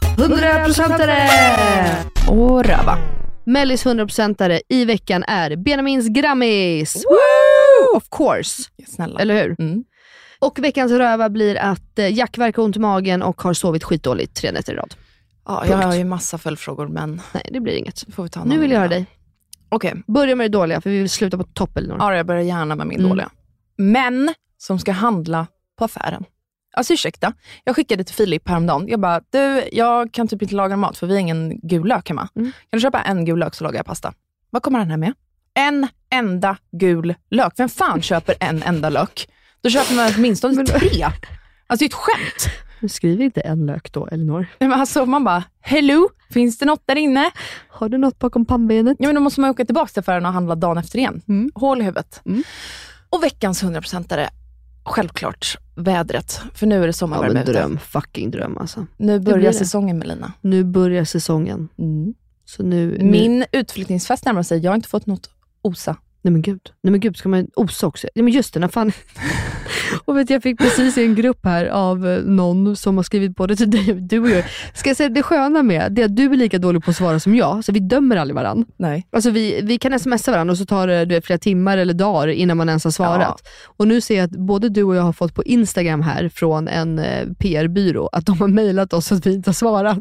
100%are!
och röva.
Mellis 100%are i veckan är Benjamins Grammis! Of course,
Snälla.
eller hur?
Mm.
Och veckans röva blir att eh, Jack verkar ha ont i magen och har sovit skitdåligt tre nätter i rad.
Ja, jag har
Punkt.
ju massa följdfrågor, men
Nej, det blir inget.
det får vi ta någon
Nu vill jag höra
annan
dig.
gång. Okej,
Börja med det dåliga, för vi vill sluta på topp eller något.
ja, jag börjar gärna med min
Mm.
dåliga. Män som ska handla på affären. Alltså ursäkta, jag skickade till Filip häromdagen. Jag bara, du, jag kan typ inte laga mat för vi har ingen gul lök hemma.
Mm.
Kan du köpa en gul lök så lagar jag pasta. Vad kommer han här med? En enda gul lök. Vem fan köper en enda lök? Då köper man åtminstone tre. Alltså det är ett skämt.
Men Skriv inte en lök då, Elinor.
Nej, men Alltså man bara, hello, finns det något där inne?
Har du något bakom pannbenet?
Ja, men då måste man ju åka tillbaka till affären och handla dagen efter igen.
Mm.
Hål i huvudet.
Mm.
Och veckans 100%are, självklart vädret. För nu är det
Ja,
sommarvärme
men
ute.
dröm. Fucking dröm alltså.
Nu
blir
börjar
det.
säsongen Melina.
Nu börjar säsongen. Så nu... nu
Min utflyttningsfest närmar sig. Jag har inte fått något OSA.
nej men gud. Nej men gud, ska man osa också? Nej men just det, när fan... och vet, jag fick precis i en grupp här av eh, någon som har skrivit både till dig och du och jag. Ska jag säga det sköna med det är att du är lika dålig på att svara som jag, så vi dömer aldrig varandra.
Nej.
Alltså vi, vi kan smsa varandra och så tar det du vet, flera timmar eller dagar innan man ens har svarat. Och nu ser jag att både du och jag har fått på Instagram här från en eh, PR-byrå att de har mejlat oss att vi inte har svarat.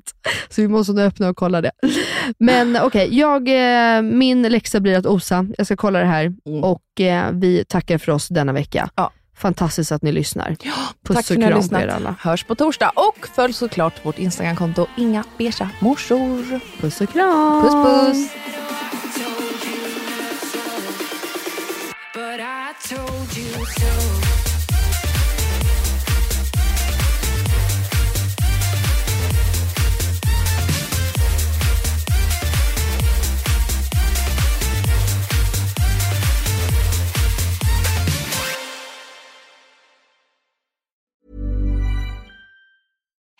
Så vi måste nu öppna och kolla det. Men okej, jag, eh, min läxa blir att osa. Jag ska kolla det här
Mm.
och eh, vi tackar för oss denna vecka.
Ja.
Fantastiskt att ni lyssnar. Puss
Tack för
och
att ni har
kram
lyssnat.
på er alla.
Hörs på torsdag. Och följ såklart vårt Instagramkonto, inga beiga morsor.
Puss och kram.
Puss puss.
But I told you so.